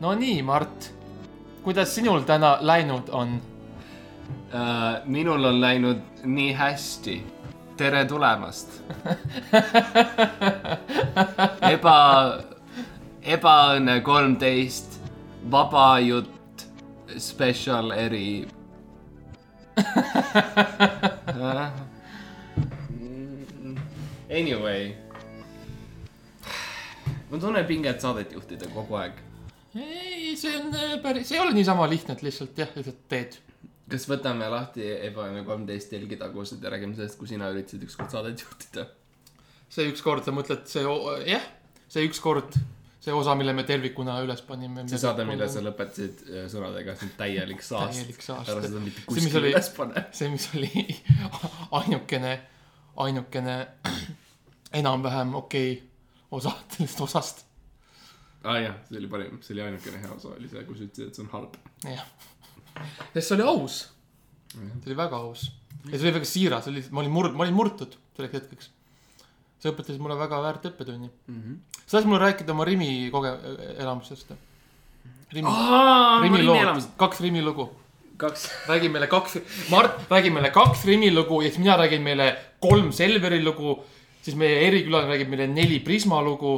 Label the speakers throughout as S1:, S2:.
S1: no nii , Mart , kuidas sinul täna läinud on ?
S2: Äh, minul on läinud nii hästi . tere tulemast . eba , ebaõnne kolmteist , vaba jutt , spetsial eri . Anyway . ma tunnen pinget saadet juhtida kogu aeg
S1: ei , see on äh, päris , ei ole niisama lihtne , et lihtsalt jah , lihtsalt teed .
S2: kas võtame lahti Ebaõnne kolmteist telgi tagused ja räägime sellest , kui sina üritasid ükskord saadet juhtida ?
S1: see ükskord , sa mõtled , see o- jah , see ükskord , see osa , mille me tervikuna üles panime .
S2: see saade , mille sa lõpetasid äh, sõnadega , see on täielik saast .
S1: Täielik saast.
S2: ära seda mitte
S1: See, mis
S2: kuskile
S1: oli-
S2: üles pane .
S1: see , mis oli ainukene , ainukene enam-vähem okei okay osa sellest osast .
S2: aa ah, jah , see oli parim , see oli ainukene hea osa oli see , kus ütlesid , et see on halb .
S1: jah . sest see oli aus . see oli väga aus . ja see oli väga siiras , oli , ma olin murd- , ma olin murtud selleks hetkeks . see õpetas mulle väga väärt õppetunni .
S2: Mhm.
S1: sa tahtsid mulle rääkida oma Rimi koge- , elamusest . Rimi , Rimi lood , kaks Rimi lugu .
S2: kaks .
S1: räägi meile kaks , Mart , räägi meile kaks Rimi lugu ja siis mina räägin meile kolm Selveri lugu . siis meie erikülaline räägib meile neli Prisma lugu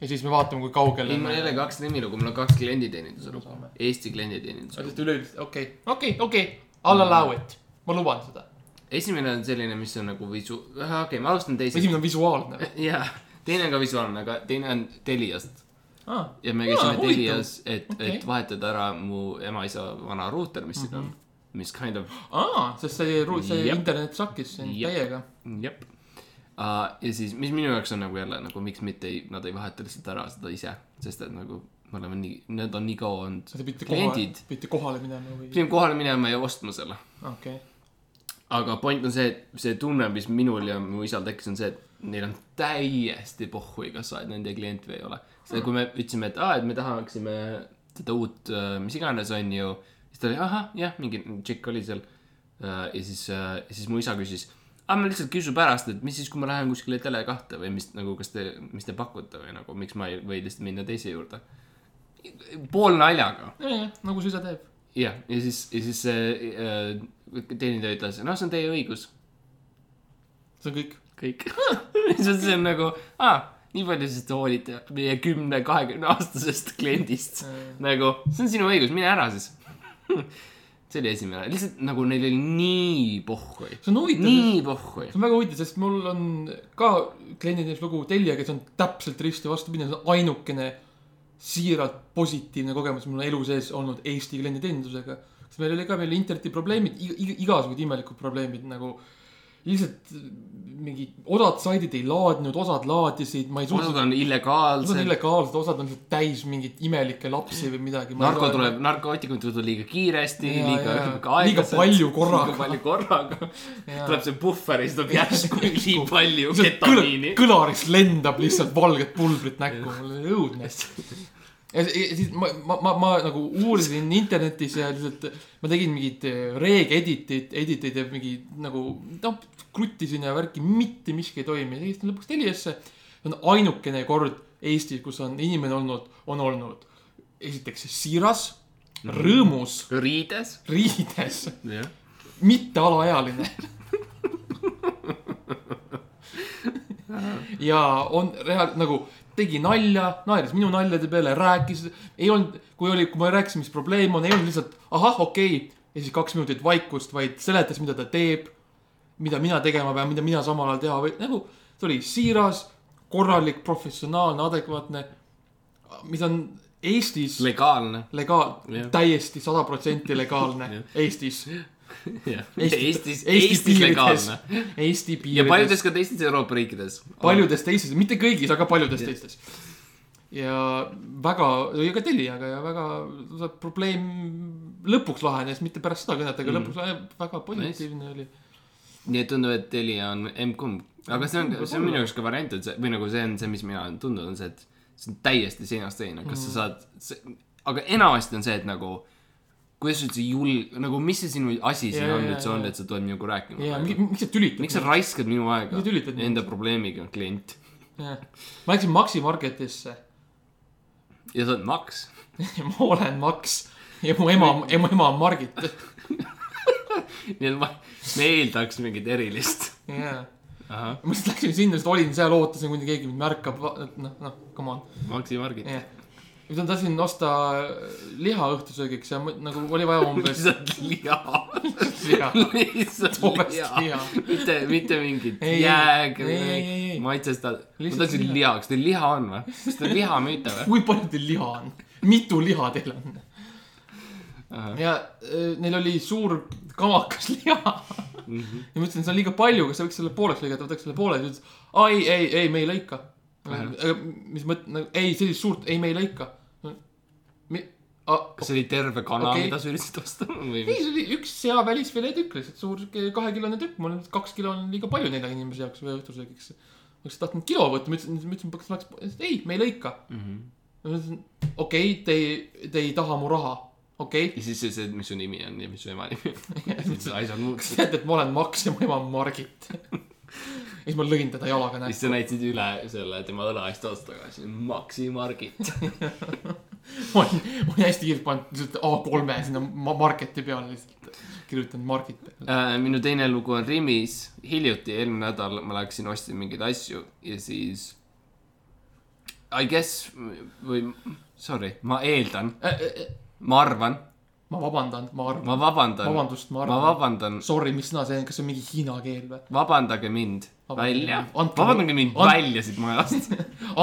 S1: ja siis me vaatame , kui kaugele
S2: ei , mul ei ole . kaks nimi lugu , mul on kaks klienditeeninduse lugu
S1: Saame. .
S2: Eesti klienditeeninduse lugu .
S1: üleüldiselt , okei , okei , okei , I'll allow it , ma luban seda .
S2: esimene on selline , mis on nagu visu- , okei okay, , ma alustan teisest .
S1: esimene on visuaalne .
S2: jaa , teine on ka visuaalne , aga teine on Teliast
S1: Ah,
S2: ja me
S1: Aa,
S2: käisime
S1: huvitav.
S2: Telias , et okay. , et
S1: Okei. Mhm.
S2: vahetada ära mu ema-isa vana ruuter , mis mm -hmm. siin on , mis kind of ,
S1: aa , sest see , see
S2: Jep.
S1: internet sakkis sind
S2: Jep.
S1: täiega .
S2: jep uh, . ja siis , mis minu jaoks on nagu jälle nagu , miks mitte ei, nad ei vaheta lihtsalt ära seda ise , sest et nagu me oleme nii , need on nii kaua olnud
S1: sa pidid kohale
S2: kliendid ,,
S1: pidid kohale minema või ?
S2: pidime kohale minema ja ostma selle .
S1: okei ,
S2: aga point on see , et see tunne , mis minul ja mu isal tekkis , on see , et neil on täiesti pohhui , kas sa oled nende klient või ei ole . seda , kui me ütlesime , et aa , et me tahaksime seda uut , mis iganes , on ju , siis ta oli ahah , jah , mingi tšikk oli seal . ja siis , siis mu isa küsis , aa , ma lihtsalt küsin pärast , et mis siis , kui ma lähen kuskile Tele2 või mis nagu , kas te , mis te pakute või nagu , miks ma ei või lihtsalt minna teise juurde . pool naljaga
S1: nagu süda teeb .
S2: jah , ja siis , ja siis see äh, teenindaja ütles , noh , see on teie õigus .
S1: see on kõik .
S2: kõik . siis see on nagu , aa , nii palju siis te hoolite meie kümne , kahekümne aastasest kliendist . nagu , see on sinu õigus , mine ära siis . see oli esimene , lihtsalt nagu neil oli nii pohhui .
S1: see on huvitav , see
S2: nii pohhui .
S1: on väga huvitav , sest mul on ka klienditeenus lugu Telia , kes on täpselt risti vastupidi , see on ainukene siiralt positiivne kogemus mul on elu sees olnud Eesti klienditeenindusega . sest meil oli ka , meil oli interneti probleemid , igasugused imelikud probleemid nagu lihtsalt mingi osad saidid ei laadinud , osad laadisid , ma ei suutnud
S2: osad on
S1: Nad on
S2: illegaalsed .
S1: illegaalsed , osad on lihtsalt täis mingeid imelikke lapsi või midagi .
S2: narko tuleb , narkootikumid tulevad liiga kiiresti ,
S1: Jaa,
S2: liiga
S1: jaa. Liiga
S2: aeglaselt .
S1: palju korraga.
S2: liiga palju korraga .
S1: Jaa.
S2: tuleb see puhver ja siis tuleb järsku nii palju
S1: ketamiini
S2: ketamiini ..
S1: kõlarist lendab lihtsalt valget pulbrit näkku , mul oli õudne . ja si- ja siis ma , ma, ma , ma nagu uurisin internetis ja lihtsalt ma tegin mingeid reeg-editeid , editeid ja mingi nagu noh , kruttisin ja värki , mitte miski ei toimi ja siis lõpuks Teliasse . see on ainukene kord Eestis , kus on inimene olnud , on olnud esiteks siiras , rõõmus ,
S2: riides .
S1: riides
S2: jah .
S1: mitte alaealine . ja on reaal- nagu tegi nalja , naeris minu naljade peale , rääkis , ei olnud , kui oli , kui ma rääkisin , mis probleem on , ei olnud lihtsalt ahah , okei okay. ja siis kaks minutit vaikust , vaid seletas , mida ta teeb , mida mina tegema pean , mida mina samal ajal teha või nagu ta oli siiras , korralik , professionaalne , adekvaatne , mis on Eestis
S2: legaalne .
S1: legaal
S2: Jah. ,
S1: täiesti sada protsenti legaalne
S2: Jah.
S1: Eestis
S2: Eestis , Eestis, Eestis legaalne .
S1: Eesti
S2: ja
S1: piirides ,
S2: paljudes ka teistes Euroopa riikides .
S1: paljudes teistes , mitte kõigis , aga paljudes
S2: Jah.
S1: teistes . ja väga , ja ka Teliaga ja väga see probleem lõpuks lahenes , mitte pärast seda kõnet , aga mm. lõpuks lahenes, väga positiivne nice. oli .
S2: nii et tundub , et Telia on M-kumb . aga see on , see on minu jaoks ka variant , et see või nagu see on see , mis mina olen tundnud , on see , et see on täiesti seinast seina , kas
S1: Mm.
S2: sa saad , aga enamasti on see , et nagu kuidas sa üldse jul- , nagu mis see sinu asi siin
S1: Jaa,
S2: on
S1: jaa,
S2: üldse on ,
S1: jaa.
S2: et sa tuled minuga
S1: ja mi-
S2: rääkima .
S1: miks sa tülitad
S2: miks sa ? raiskad minu aega
S1: Miks sa tülitad mind?
S2: enda probleemiga , klient ?
S1: ma läksin Maxi Marketisse
S2: ja sa oled Max .
S1: ma olen Max ja mu ema , mu ema on Margit .
S2: nii et ma , me eeldaks mingit erilist .
S1: jaa .
S2: ahah ,
S1: ma lihtsalt läksin sinna , lihtsalt olin seal , ootasin , kuni keegi mind märkab , noh , noh , come on ,
S2: Maxi Margit
S1: jah . nüüd ma tahtsin osta liha õhtusöögiks ja ma- nagu oli vaja umbes
S2: lihtsalt liha .
S1: liha .
S2: lihtsalt
S1: Toomast
S2: liha
S1: liha. .
S2: mitte , mitte mingit
S1: Ei, ei,
S2: jääg
S1: ei, ei, ei, ei.
S2: maitsestad . ma
S1: Lihtsalt
S2: tahtsin
S1: liha.
S2: liha , kas teil liha on või ? kas teil liha müüte või ?
S1: kui palju teil liha on ? mitu liha teil on ? ja äh, neil oli suur kamakas liha . ja ma ütlesin , see on liiga palju , kas sa võiks selle pooleks lõigata , võtaks selle poole , siis ta ütles , aa ei , ei , ei , me ei lõika . mis mõt- , ei , sellist suurt , ei , me ei lõika .
S2: kas see oli terve kana
S1: Okei.
S2: okay. , mida sa üritasid osta või
S1: ei ,
S2: mis ?
S1: see oli üks hea välisfilee tükk lihtsalt , suur sihuke kahekilone tükk , ma olen , kaks kilo on liiga palju nelja inimese jaoks ühe õhtusöögiks . ma oleks tahtnud kilo võtta , ma ütlesin , ma ütlesin , kas ma oleks , ei , me ei lõika .
S2: Mhm.
S1: ma ütlesin , okei okay, , te ei , te ei taha mu raha , okei okay. .
S2: ja siis see, see , mis su nimi on ja mis su ema nimi on . asjad muutusid .
S1: tead , et ma olen Max ja mu ema on Margit . ja siis ma lõin teda jalaga
S2: siis
S1: näkku ,
S2: sa näitasid üle selle tema õla eest otsa tagasi , Maxi Margit .
S1: ma olin , ma olin hästi kiirelt pannud lihtsalt A3-e sinna ma- Margeti peale lihtsalt , kirjutanud Margit peale .
S2: Äh, minu teine lugu on Rimis . hiljuti , eelmine nädal ma läksin ostsin mingeid asju ja siis I guess või sorry , ma eeldan , ma arvan ,
S1: Äh, ma vabandan , ma arvan ,
S2: ma vabandan ,
S1: vabandust , ma
S2: ma
S1: arvan .
S2: vabandan ,
S1: Sorry , mis sõna see on , kas see on mingi hiina keel või ?
S2: vabandage mind
S1: Vabandage
S2: välja ,
S1: mind. Andke mu-
S2: vabandage mind
S1: and-
S2: välja siit majast ,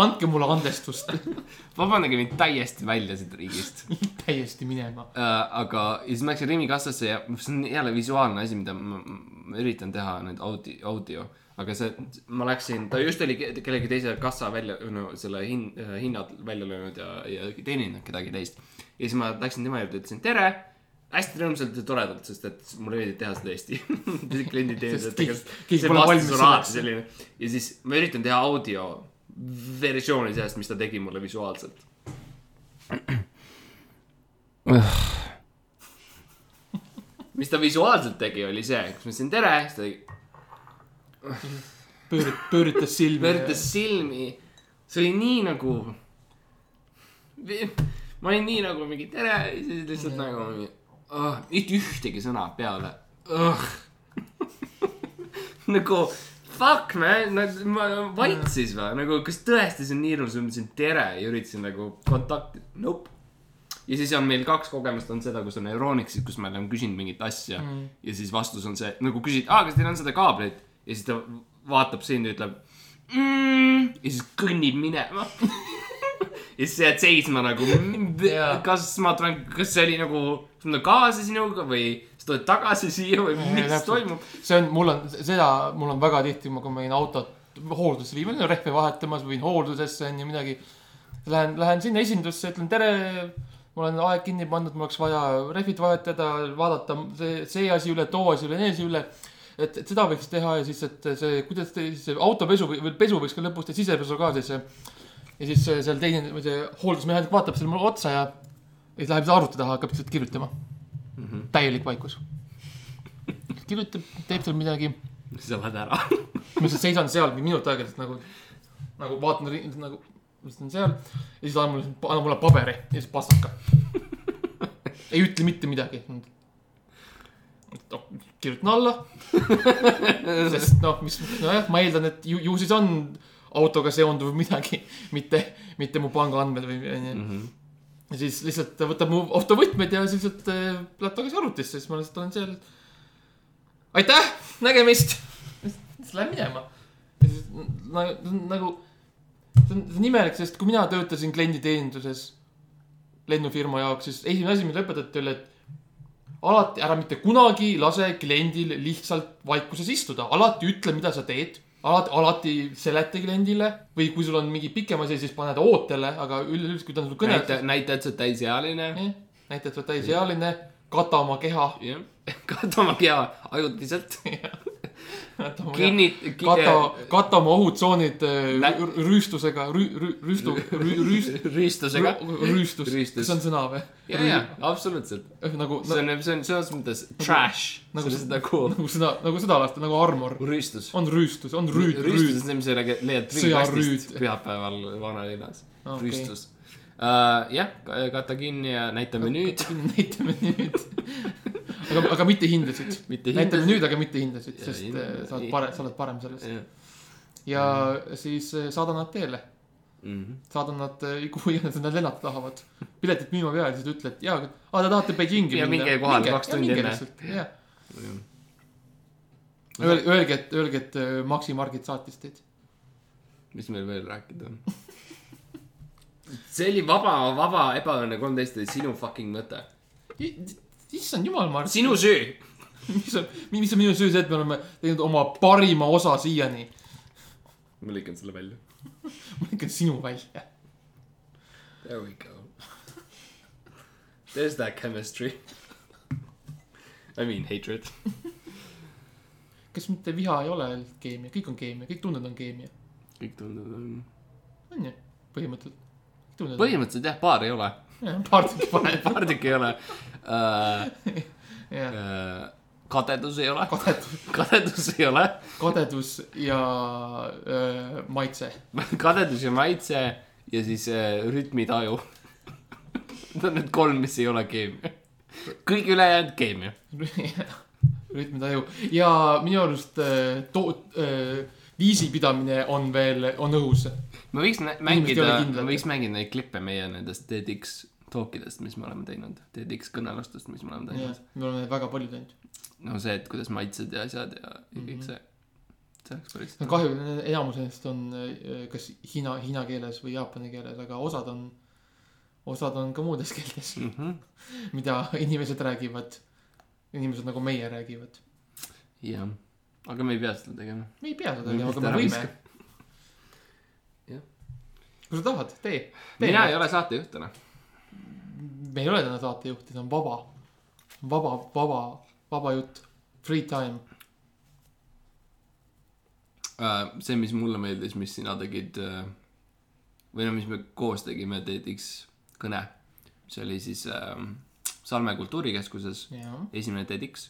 S1: andke mulle andestust ,
S2: vabandage mind täiesti välja siit riigist .
S1: täiesti minema .
S2: äh, aga ja siis ma läksin Rimi kassasse ja see on jälle visuaalne asi , mida ma, ma üritan teha nüüd audi- , audio , aga see , ma läksin , ta just oli ke- kellegi teise kassa välja , no selle hin- , hinnad välja löönud ja , ja teeninud kedagi teist . ja siis ma läksin tema juurde , ütlesin tere , hästi rõõmsalt ja toredalt , sest et mulle meeldib teha seda hästi . klienditeenindajad
S1: Sest keegi-
S2: tegelikult .
S1: keegi
S2: see
S1: pole
S2: vastus
S1: valmis
S2: on alati
S1: selleks.
S2: selline ja siis ma üritan teha audio versiooni sellest , mis ta tegi mulle visuaalselt . mis ta visuaalselt tegi , oli see , kus ma ütlesin tere , siis ta tegi
S1: pöörit- , pööritas silmi .
S2: pööritas silmi . see oli nii nagu . ma olin nii nagu mingi tere ja siis lihtsalt nagu mingi oh, , mitte ühtegi sõna peale oh. . nagu fuck man , ma vait siis või , nagu kas tõesti see on nii ilus , ma ütlesin tere ja üritasin nagu kontakti , nope ja siis on meil kaks kogemust on seda , kus on Euronixid , kus me oleme küsinud mingit asja mm. ja siis vastus on see , nagu küsid , aa , kas teil on seda kaablit ja siis ta vaatab sind ja ütleb mm, . ja siis kõnnib minema . ja siis sa jääd seisma nagu
S1: Jaa. ,
S2: kas ma tulen , kas see oli nagu , kas ma tulen kaasa sinuga või sa tuled tagasi siia või
S1: Jaa,
S2: mis
S1: täpselt.
S2: toimub ?
S1: see on , mul on seda , mul on väga tihti , kui ma käin autot hooldusesse viima , rehve vahetamas või hooldusesse on ju midagi . Lähen , lähen sinna esindusse , ütlen tere , mul on aeg kinni pandud , mul oleks vaja rehvid vahetada , vaadata see , see asi üle , too asi üle , nii asi üle . et , et seda võiks teha ja siis , et see , kuidas te siis see autopesu või või pesu võiks ka lõpus teha , sisepesu ka siis . ja siis see- seal teine , see hooldusmehaanik vaatab selle mulle otsa ja , ja siis läheb arvuti taha , hakkab lihtsalt kirjutama mm .
S2: Mhm.
S1: -hmm. täielik vaikus kirjutab , teeb seal midagi ,
S2: siis sa lähed ära .
S1: ma lihtsalt seisan seal mingi minut aega lihtsalt nagu , nagu vaatan ri- nagu , lihtsalt on seal ja siis annab mulle , annab mulle paberi ja siis pastaka . ei ütle mitte midagi . kirjutan alla , sest noh , mis , nojah , ma eeldan , et ju, ju siis on autoga seonduv midagi , mitte , mitte mu pangaandmed või onju .
S2: Mhm.
S1: ja siis lihtsalt ta võtab mu autovõtmed ja siis lihtsalt äh, läheb tagasi arvutisse , siis ma lihtsalt olen seal . aitäh , nägemist . siis läheb minema . ja siis nagu , nagu , see on see on imelik , sest kui mina töötasin klienditeeninduses lennufirma jaoks , siis esimene asi , mida õpetati , oli , et alati , ära mitte kunagi lase kliendil lihtsalt vaikuses istuda , alati ütle , mida sa teed alati , alati seleta kliendile või kui sul on mingi pikem asi , siis pane ta ootele , aga üleüldse , kui ta on sul kõne
S2: näita , näita , et sa oled täisealine .
S1: Jah, näita , et sa oled täisealine , kata oma keha .
S2: jah , kata oma keha ajutiselt .
S1: kata ,
S2: kinnit- .
S1: kata oma ohutsoonid äh,
S2: Nä-
S1: rü- rüüstusega , rüüstu , rüüst ,
S2: rüüstusega .
S1: rüüstus ,
S2: Rüüstus.
S1: kas see on sõna või ?
S2: ja , ja , absoluutselt .
S1: nagu ,
S2: see on , see on selles mõttes trash .
S1: nagu
S2: see on seda cool .
S1: nagu seda , nagu seda lasta , nagu armor .
S2: rüüstus .
S1: on rüüstus , on rüüd , rüüd .
S2: rüüstus on see , mis sa leiad
S1: Sõjarüüd.
S2: prügikastist pühapäeval vanalinnas
S1: Ah, Okei. .
S2: rüüstus . jah , kata kinni ja näitame nüüd ,
S1: näitame nüüd . aga , aga mitte hindasid .
S2: mitte
S1: näitame
S2: hindasid .
S1: nüüd , aga mitte hindasid ,
S2: Ja
S1: sest
S2: hinda-
S1: äh, sa oled parem , sa oled parem selles . ja siis äh, saadan nad teele ,
S2: Mhm.
S1: saadan nad äh, kuhu iganes nad lennata tahavad . piletit müüma peale , siis ta ütleb , jaa , aga te tahate Pekingi
S2: Ja minge kohale kaks tundi enne.
S1: enne . Öelge , et , öelge , et äh, Maxi Margit saatis teid .
S2: mis meil veel rääkida on ? see oli vaba , vaba ebaõnne kolmteist oli sinu fucking mõte .
S1: issand jumal , Mart ,
S2: sinu süü .
S1: mis on , mis on minu süü see , et me oleme teinud oma parima osa siiani .
S2: ma lõikan selle välja .
S1: ma lõikan sinu välja .
S2: There we go . There's that chemistry . I mean hatred .
S1: kas mitte viha ei ole ainult keemia , kõik on keemia , kõik tunned on keemia ,
S2: kõik tunded on .
S1: on ju , põhimõtteliselt . tunned on ,
S2: põhimõtteliselt jah , paar ei ole .
S1: paar tükki paned ,
S2: paar tükki ei ole uh, .
S1: jah .
S2: Uh, kadedus ei ole .
S1: kadedus ,
S2: kadedus ei ole .
S1: kadedus ja öö, maitse .
S2: kadedus ja maitse ja siis uh, rütmitaju . Need on need kolm , mis ei ole keemia . kõik ülejäänud keemia .
S1: rütmitaju ja minu arust öö, to- , viisipidamine on veel , on õhus .
S2: me võiks nä-
S1: Inimesed ei ole
S2: mängida ,
S1: kindlad.
S2: me võiks mängida neid klippe meie nendest TEDx talkidest , mis me oleme teinud . TEDx kõnelustest , mis me oleme teinud .
S1: me oleme väga palju teinud .
S2: no see , et kuidas maitsed ja asjad ja ja
S1: Mhm.
S2: kõik see . see oleks päris .
S1: kahju , enamus neist on öö, kas hiina , hiina keeles või jaapani keeles , aga osad on , osad on ka muudes keeltes ,
S2: Mm -hmm.
S1: mida inimesed räägivad . inimesed nagu meie räägivad .
S2: jah , aga me ei pea seda tegema .
S1: me ei pea seda
S2: Me
S1: tegema ,
S2: lihtsalt
S1: aga me
S2: ära
S1: võime
S2: Jah. .
S1: kui sa tahad , tee .
S2: mina ei ole saatejuht täna .
S1: me ei ole täna saatejuhti , see on vaba , vaba , vaba , vaba jutt , free time .
S2: Äh, see , mis mulle meeldis , mis sina tegid äh, või no mis me koos tegime TEDx kõne , see oli siis äh, Salme kultuurikeskuses
S1: jah ,
S2: esimene TEDx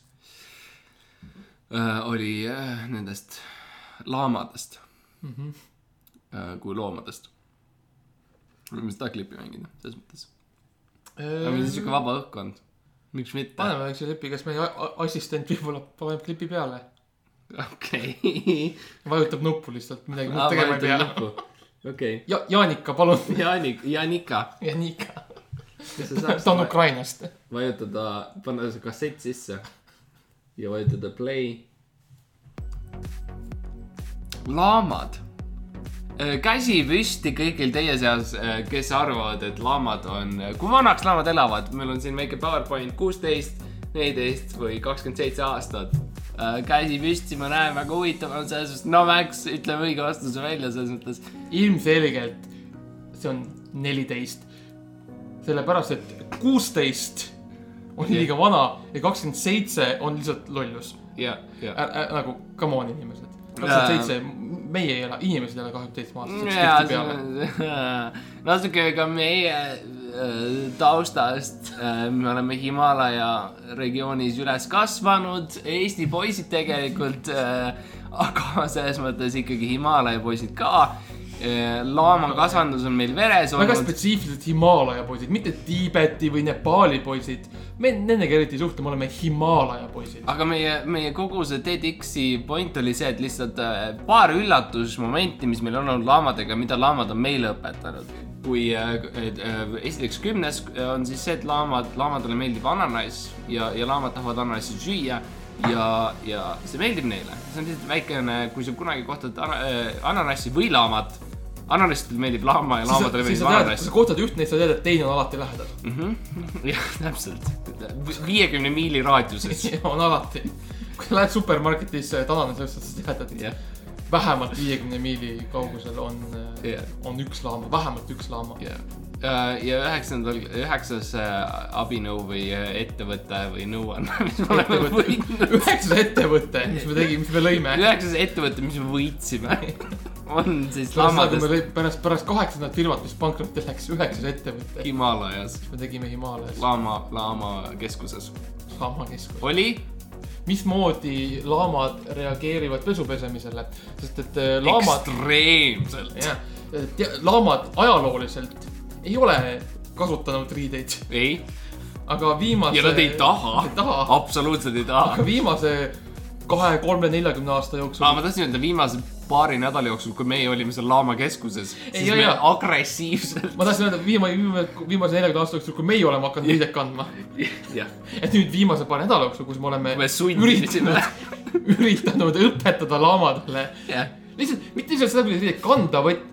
S2: äh, oli äh, nendest laamadest
S1: Mhm.
S2: mm -hmm. äh, kui loomadest . võime seda klippi mängida , selles mõttes . aga meil on siuke vaba õhkkond , miks mitte .
S1: Ehm, paneme väikse klipi , kas meie a- a- assistent võib-olla paneb klipi peale ,
S2: okei .
S1: vajutab nuppu lihtsalt , midagi muud tegema ei pea .
S2: okei ,
S1: ja Jaanika , palun .
S2: Jaanik , Janika ,
S1: Janika ,
S2: kas sa saad
S1: ta on Ukrainast .
S2: vajutada , panna see kassett sisse ja vajutada play . laamad . käsi püsti kõigil teie seas , kes arvavad , et laamad on , kui vanaks laamad elavad , meil on siin väike PowerPoint kuusteist , neliteist või kakskümmend seitse aastat . käsi püsti , ma näen , väga huvitav on selles mõttes , no Max , ütle õige vastuse välja selles mõttes .
S1: ilmselgelt see on neliteist , sellepärast et kuusteist on liiga vana ja kakskümmend seitse on lihtsalt lollus
S2: ja , ja
S1: Ä- ä- nagu come on inimesed , kakskümmend seitse , meie ei ela , inimesed ei ela kahekümne seitsme
S2: jaa ,
S1: aastaselt .
S2: natuke ka meie äh, taustast , me oleme Himalaia regioonis üles kasvanud , Eesti poisid tegelikult , aga selles mõttes ikkagi Himalaia poisid ka . laamakasvandus on meil veres
S1: väga
S2: olnud .
S1: spetsiifiliselt Himaalaja poisid , mitte Tiibeti või Nepaali poisid . me nendega eriti ei suhtle , me oleme Himaalaja poisid .
S2: aga meie , meie kogu see TEDx-i point oli see , et lihtsalt äh, paar üllatusmomenti , mis meil on olnud laamadega , mida laamad on meile õpetanud . kui äh, et, äh, esiteks kümnes äh, on siis see , et laamad , laamadele meeldib ananass ja , ja laamad tahavad ananassi süüa ja , ja see meeldib neile . see on lihtsalt väikene , kui sa kunagi kohtad ana, äh, ananassi või laamat , ananassile meeldib laama ja laamadele
S1: siis sa
S2: meeldib
S1: tead , kui
S2: ananass
S1: sa . kohtad üht neist , sa tead , et teine on alati lähedal .
S2: Mhm. jah , täpselt . viiekümne miili raadiuses .
S1: on alati . kui sa lähed eh, supermarketisse , et ananasi ostad , siis tead , et
S2: jah ,
S1: vähemalt viiekümne miili kaugusel on ,
S2: jah .
S1: on üks laama , vähemalt üks laama .
S2: ja , Uh, ja üheksandal , üheksas äh, abinõu või äh, ettevõte või nõuanne , mis me oleme võitnud .
S1: üheksas ettevõte , mis me tegime , mis me lõime .
S2: üheksas ettevõte , mis me võitsime , on siis
S1: seda , kui me
S2: laamadest
S1: lõi- pärast , pärast kaheksandat firmat , mis pankrotti läks , üheksas ettevõte ,
S2: Himalajas ,
S1: me tegime Himaalias
S2: laama , laamakeskuses .
S1: laamakeskuse .
S2: oli
S1: mismoodi laamad reageerivad pesu pesemisele , sest et äh, laamad ,
S2: ekstreemselt .
S1: jah , laamad ajalooliselt ei ole kasutanud riideid ,
S2: ei ,
S1: aga viimase .
S2: ja nad ei taha
S1: ei taha. ,
S2: absoluutselt ei taha
S1: aga . viimase kahe , kolme , neljakümne aasta jooksul
S2: aa , ma tahtsin öelda viimase paari nädala jooksul , kui meie olime seal Laama keskuses , siis
S1: jaa,
S2: me
S1: jaa.
S2: agressiivselt .
S1: ma tahtsin öelda viimane , viimane , viimase neljakümne aasta jooksul , kui meie oleme hakanud riideid kandma ,
S2: jah ,
S1: et nüüd viimase paari nädala jooksul , kus me oleme
S2: me sundisime .
S1: üritanud õpetada laamadele ,
S2: jah ,
S1: lihtsalt mitte lihtsalt seda , kuidas riideid kanda , vaid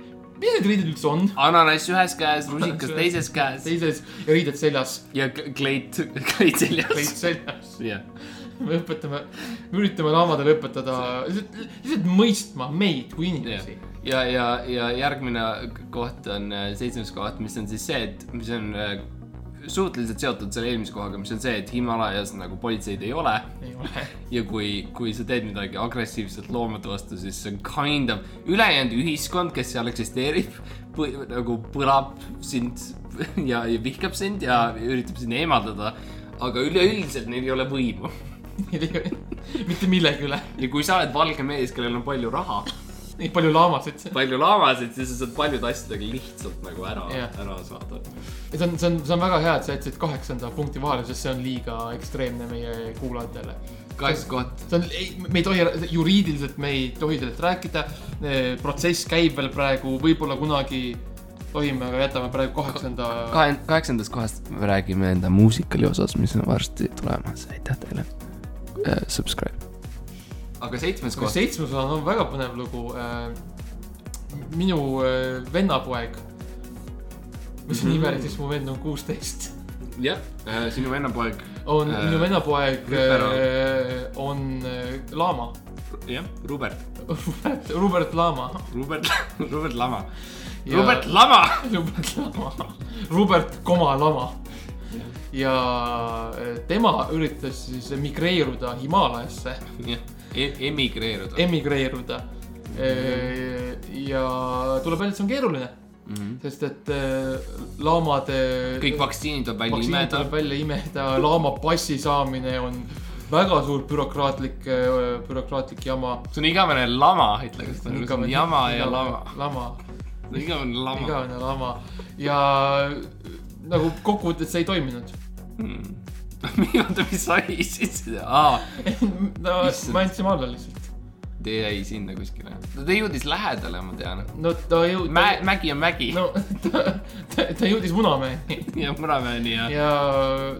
S1: mis need riided üldse on ,
S2: ananass ühes käes , rusikas
S1: ühes-
S2: teises käes
S1: teises ja riided seljas ,
S2: ja k- kleit , kleit
S1: kleit
S2: seljas .
S1: seljas .
S2: jah ,
S1: me õpetame , me üritame laamadele õpetada lihtsalt , lihtsalt mõistma meid kui inimesi .
S2: ja , ja , ja järgmine koht on äh, seitsmes koht , mis on siis see , et mis on äh, suhteliselt seotud selle eelmise kohaga , mis on see , et Himalajas nagu politseid ei ole
S1: ei ole .
S2: ja kui , kui sa teed midagi agressiivselt loomade vastu , siis see on kind of , ülejäänud ühiskond , kes seal eksisteerib , nagu põlab sind ja , ja vihkab sind ja üritab sind eemaldada . aga üleüldiselt neil ei ole võimu .
S1: mitte millegi üle ,
S2: ja kui sa oled valge mees , kellel on palju raha ,
S1: nii palju laamasid .
S2: palju laamasid , siis sa saad paljude asjadega lihtsalt nagu ära
S1: Jah.
S2: yeah. , ära saada .
S1: see on , see on , see on väga hea , et sa jätsid kaheksanda punkti vahele , sest see on liiga ekstreemne meie kuulajatele .
S2: kaheksas koht ,
S1: see on , me ei tohi , juriidiliselt me ei tohi sellest rääkida . protsess käib veel praegu , võib-olla kunagi tohime , aga jätame praegu kaheksanda .
S2: kahe , kaheksandast kohast me räägime enda muusikali osas , mis on varsti tulemas , aitäh teile uh, . Subscribe . aga seitsmes koht .
S1: seitsmes on väga põnev lugu . minu äh, vennapoeg , mis on imelik , sest mu vend on kuusteist ,
S2: jah , sinu vennapoeg ,
S1: on
S2: Äh,
S1: minu vennapoeg
S2: Rüpera. ,
S1: on äh, laama ,
S2: jah , Robert ,
S1: Robert , Robert Laama .
S2: Robert , Robert Lama ,
S1: Ja-
S2: Robert Lama .
S1: Robert Lama , Robert koma Lama . ja e, tema üritas siis emigreeruda Himaalajasse ,
S2: jah , emigreeruda .
S1: emigreeruda . ja tuleb välja , et see on keeruline , sest et eh, laamade .
S2: Mhm. kõik vaktsiinid on välja
S1: vaktsiinid
S2: imeda
S1: tuleb . välja imeda , laama passi saamine on väga suur bürokraatlik , bürokraatlik jama .
S2: see on igavene lama , ütle , kas ta on jama ja lama .
S1: lama
S2: igavene lama .
S1: igavene lama ja nagu kokkuvõttes see ei toiminud .
S2: oota , mis sai siis ? aa ,
S1: no
S2: Issand.
S1: me andsime alla lihtsalt .
S2: ta jäi sinna kuskile . ta jõudis lähedale , ma tean .
S1: no ta jõud- .
S2: Mä- , mägi on mägi
S1: no ta, ta , ta jõudis Munamäeni
S2: ja Munamäeni ja .
S1: ja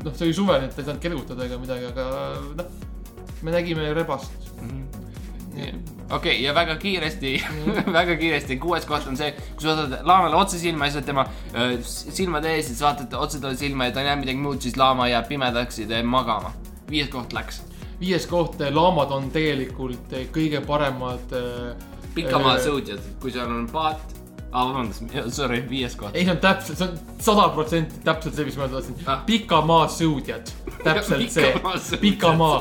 S1: noh , see oli suvel , et ta ei saanud kergutada ega midagi , aga noh , me nägime rebast .
S2: Jah. okei okay, , ja väga kiiresti , väga kiiresti , kuues koht on see , kui sa vaatad laamale otse silma , siis oled tema öö, s- silmade ees ja siis vaatad otse talle silma ja ta ei näe midagi muud , siis laama jääb pimedaks ja ta jääb magama . viies koht läks .
S1: viies koht , laamad on tegelikult kõige paremad . äh,
S2: pikamaa . sõudjad , kui seal on paat , aa vabandust , sorry , viies koht .
S1: ei , see on täpselt , see on sada protsenti täpselt see , mis ma tahtsin
S2: Ah.
S1: ah. . pikamaa sõudjad , täpselt see
S2: Pikamaa sõudjad. .
S1: pikamaa ,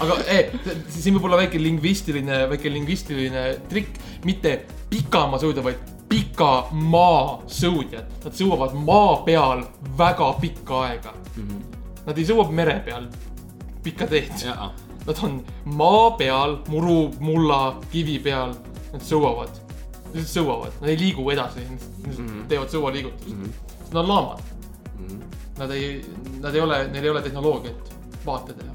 S1: aga eh, siin võib olla väike lingvistiline , väike lingvistiline trikk , mitte pikamaa sõudjad , vaid pikamaa sõudjad . Nad sõuavad maa peal väga pikka aega mm .
S2: Mhm.
S1: -hmm. Nad ei sõua mere peal pikka teed ,
S2: jaa ,
S1: nad on maa peal , muru , mulla , kivi peal , nad sõuavad lihtsalt sõuavad , nad ei liigu edasi , nad lihtsalt mm -hmm. teevad sõualiigutust
S2: Mhm.
S1: mm . -hmm. Nad on laamad mm . -hmm. Nad ei , nad ei ole , neil ei ole tehnoloogiat vaatedele .